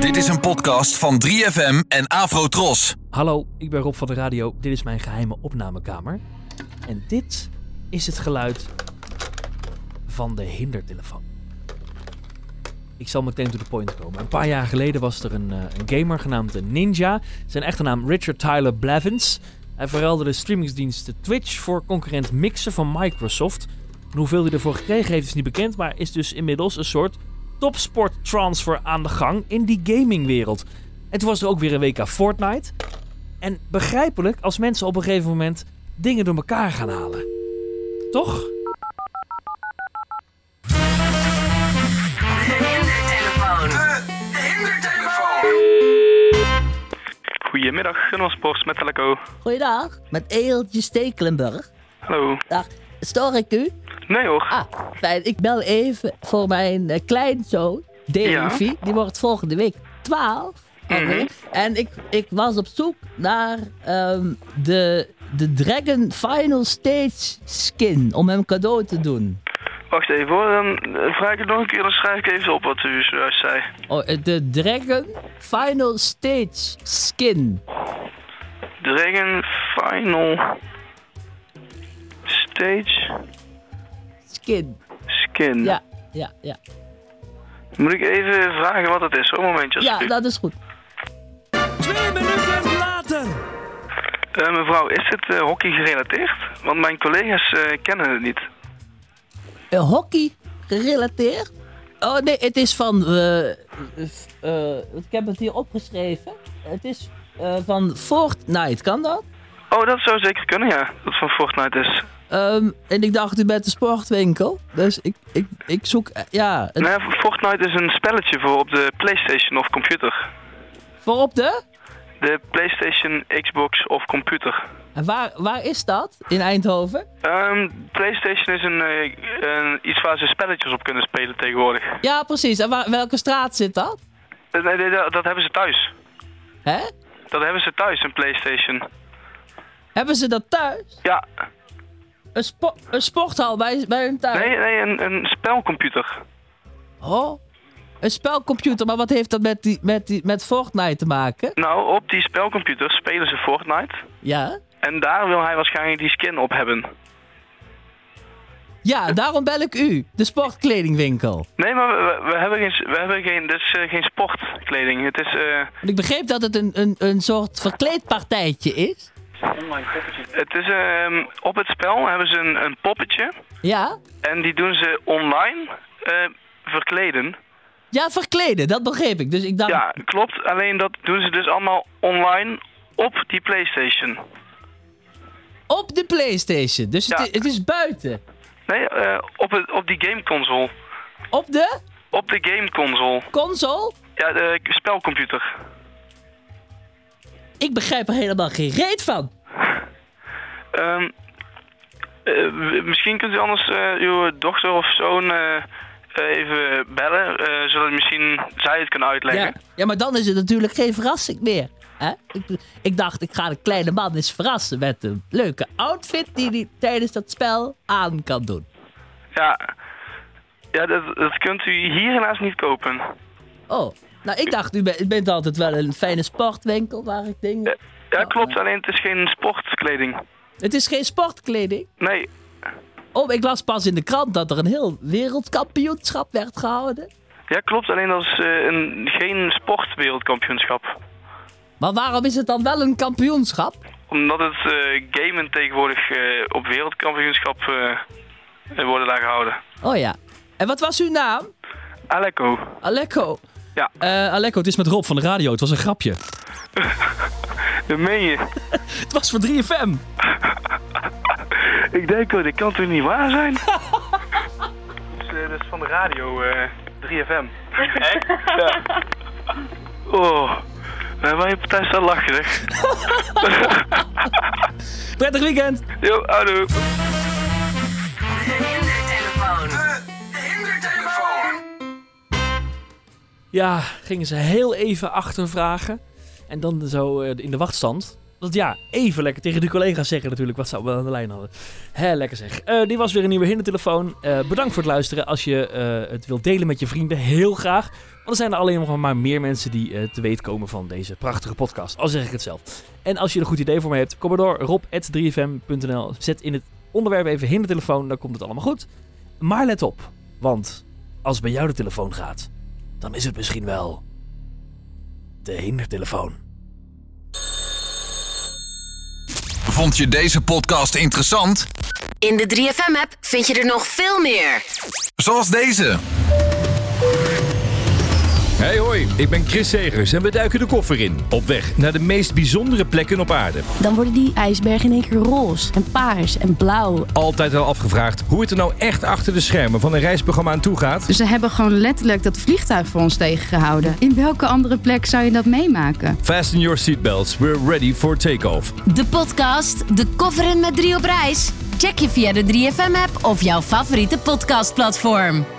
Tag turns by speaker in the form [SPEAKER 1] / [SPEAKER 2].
[SPEAKER 1] Dit is een podcast van 3FM en Afrotros.
[SPEAKER 2] Hallo, ik ben Rob van de Radio. Dit is mijn geheime opnamekamer. En dit is het geluid van de hindertelefoon. Ik zal meteen to the point komen. Een paar jaar geleden was er een, eh, een gamer genaamd Ninja. Zijn echte naam Richard Tyler Blavins. Hij verruilde de streamingsdienst Twitch voor concurrent Mixer van Microsoft. En hoeveel hij ervoor gekregen heeft is niet bekend, maar is dus inmiddels een soort topsporttransfer aan de gang in die gamingwereld. En toen was er ook weer een week aan Fortnite. En begrijpelijk als mensen op een gegeven moment dingen door elkaar gaan halen. Toch?
[SPEAKER 3] Goedemiddag, Gunnersports met Teleco.
[SPEAKER 4] Goeiedag, met Eeltje Stekelenburg.
[SPEAKER 3] Hallo.
[SPEAKER 4] Dag, stoor ik u?
[SPEAKER 3] Nee hoor.
[SPEAKER 4] Ah, fijn. Ik bel even voor mijn eh, kleinzoon, Davy. Die wordt volgende week 12. Oké. En ik, ik was op zoek naar ehm, de, de Dragon Final Stage skin om hem cadeau te doen.
[SPEAKER 3] Wacht even hoor, dan eh, vraag ik het nog een keer, dan schrijf ik even op wat u zojuist zei.
[SPEAKER 4] Oh, eh, de Dragon Final Stage skin.
[SPEAKER 3] Dragon Final Stage
[SPEAKER 4] Skin.
[SPEAKER 3] Skin.
[SPEAKER 4] Ja, ja, ja.
[SPEAKER 3] Moet ik even vragen wat het is? Zo'n momentje
[SPEAKER 4] Ja,
[SPEAKER 3] alsjeblieft.
[SPEAKER 4] dat is goed.
[SPEAKER 2] Twee minuten later!
[SPEAKER 3] Eh, mevrouw, is dit eh, hockey gerelateerd? Want mijn collega's eh, kennen het niet.
[SPEAKER 4] Eh, hockey gerelateerd? Oh nee, het is van. eh, eh, eh, ik heb het hier opgeschreven. Het is eh, van Fortnite, kan dat?
[SPEAKER 3] Oh, dat zou zeker kunnen, ja. Dat het van Fortnite is.
[SPEAKER 4] Ehm, en ik dacht, u bent een sportwinkel. Dus ik, ik, ik zoek. eh, ja, het-
[SPEAKER 3] Nee, Nou Fortnite is een spelletje voor op de PlayStation of computer.
[SPEAKER 4] voor op de.
[SPEAKER 3] De PlayStation, Xbox of computer.
[SPEAKER 4] En waar, waar is dat? In Eindhoven?
[SPEAKER 3] Ehm, PlayStation is een, eh, een- iets waar ze spelletjes op kunnen spelen tegenwoordig.
[SPEAKER 4] Ja, precies. En waar, welke straat zit dat?
[SPEAKER 3] Eh, nee, nee, dat, dat hebben ze thuis.
[SPEAKER 4] Hè?
[SPEAKER 3] Dat hebben ze thuis, een PlayStation.
[SPEAKER 4] Hebben ze dat thuis?
[SPEAKER 3] Ja,
[SPEAKER 4] Een, spo- een sporthal bij, bij hun thuis?
[SPEAKER 3] nee, nee een, een spelcomputer.
[SPEAKER 4] Oh, een spelcomputer. Maar wat heeft dat met, die, met, die, met Fortnite te maken?
[SPEAKER 3] Nou, op die spelcomputer spelen ze Fortnite.
[SPEAKER 4] Ja.
[SPEAKER 3] En daar wil hij waarschijnlijk die skin op hebben.
[SPEAKER 4] Ja, daarom bel ik u. De sportkledingwinkel.
[SPEAKER 3] Nee, maar we, we- we hebben geen, s- we hebben geen, dit is eh, geen sportkleding. Het is, eh,
[SPEAKER 4] Want ik begreep dat het een, een, een soort verkleedpartijtje is.
[SPEAKER 3] het is ehm, op het spel hebben ze een, een poppetje.
[SPEAKER 4] Ja.
[SPEAKER 3] En die doen ze online eh, verkleden.
[SPEAKER 4] Ja, verkleden, dat begreep ik. Dus ik dacht,
[SPEAKER 3] Ja, klopt. Alleen dat doen ze dus allemaal online op die PlayStation.
[SPEAKER 4] op de Playstation. Dus het,
[SPEAKER 3] Ja.
[SPEAKER 4] i- het is buiten.
[SPEAKER 3] Nee, eh, op, het, op die gameconsole.
[SPEAKER 4] Op de
[SPEAKER 3] Op de gameconsole.
[SPEAKER 4] console?
[SPEAKER 3] Ja, de spelcomputer.
[SPEAKER 4] Ik begrijp er helemaal geen reet van.
[SPEAKER 3] Ehm, eh, w- misschien kunt u anders eh, uw dochter of zoon eh, eh, even bellen. eh, zodat misschien zij het kunnen uitleggen.
[SPEAKER 4] Ja. ja, maar dan is het natuurlijk geen verrassing meer. hè? Ik, ik dacht, ik ga de kleine man eens verrassen met een leuke outfit die hij tijdens dat spel aan kan doen.
[SPEAKER 3] Ja, ja dat, dat kunt u hier helaas niet kopen.
[SPEAKER 4] Oh, nou ik dacht, u bent, u bent altijd wel een fijne sportwinkel waar ik dingen...
[SPEAKER 3] Ja,
[SPEAKER 4] Ja,
[SPEAKER 3] klopt. Alleen het is geen sportkleding.
[SPEAKER 4] Het is geen sportkleding.
[SPEAKER 3] Nee,
[SPEAKER 4] Oh, ik las pas in de krant dat er een heel wereldkampioenschap werd gehouden.
[SPEAKER 3] ja, klopt. Alleen dat is eh, een, geen sportwereldkampioenschap.
[SPEAKER 4] Maar waarom is het dan wel een kampioenschap?
[SPEAKER 3] Omdat het eh, gamen tegenwoordig eh, op wereldkampioenschap eh, eh, worden daar gehouden.
[SPEAKER 4] Oh ja. En wat was uw naam?
[SPEAKER 3] Aleko.
[SPEAKER 4] Aleko.
[SPEAKER 3] Ja,
[SPEAKER 2] Eh Aleko, het is met Rob van de radio. Het was een grapje.
[SPEAKER 3] dat meen je.
[SPEAKER 2] Het was voor 3FM.
[SPEAKER 3] Ik denk, oh, dit kan toch niet waar zijn? dus, eh, dat is van de radio, eh, 3FM. Echt? Ja. Oh, bij mijn partij staat lachen, zeg.
[SPEAKER 2] Prettig weekend.
[SPEAKER 3] Yo, hallo.
[SPEAKER 2] Ja, gingen ze heel even achtervragen. En dan zo eh, in de wachtstand. Dat ja, even lekker tegen de collega's zeggen natuurlijk wat ze wel aan de lijn hadden. Hè, lekker zeg. Eh dit was weer een nieuwe hindertelefoon. Eh, bedankt voor het luisteren. Als je eh, het wilt delen met je vrienden, heel graag. Want er zijn er alleen nog maar meer mensen die eh, te weten komen van deze prachtige podcast. Al zeg ik het zelf. En als je er een goed idee voor me hebt, kom maar door. rob.3fm.nl Zet in het onderwerp even in de telefoon, dan komt het allemaal goed. Maar let op, want als bij jou de telefoon gaat, dan is het misschien wel de hindertelefoon.
[SPEAKER 1] Vond je deze podcast interessant?
[SPEAKER 5] In de 3FM-app vind je er nog veel meer.
[SPEAKER 1] Zoals deze.
[SPEAKER 6] Hey hoi, ik ben Chris Segers en we duiken de koffer in. Op weg naar de meest bijzondere plekken op aarde.
[SPEAKER 7] Dan worden die ijsbergen in één keer roze en paars en blauw.
[SPEAKER 6] Altijd wel afgevraagd hoe het er nou echt achter de schermen van een reisprogramma aan toe gaat.
[SPEAKER 8] Ze hebben gewoon letterlijk dat vliegtuig voor ons tegengehouden. In welke andere plek zou je dat meemaken?
[SPEAKER 6] Fasten your seatbelts, we're ready for takeoff.
[SPEAKER 5] De podcast De Kofferin met Drie op Reis. Check je via de 3FM-app of jouw favoriete podcastplatform.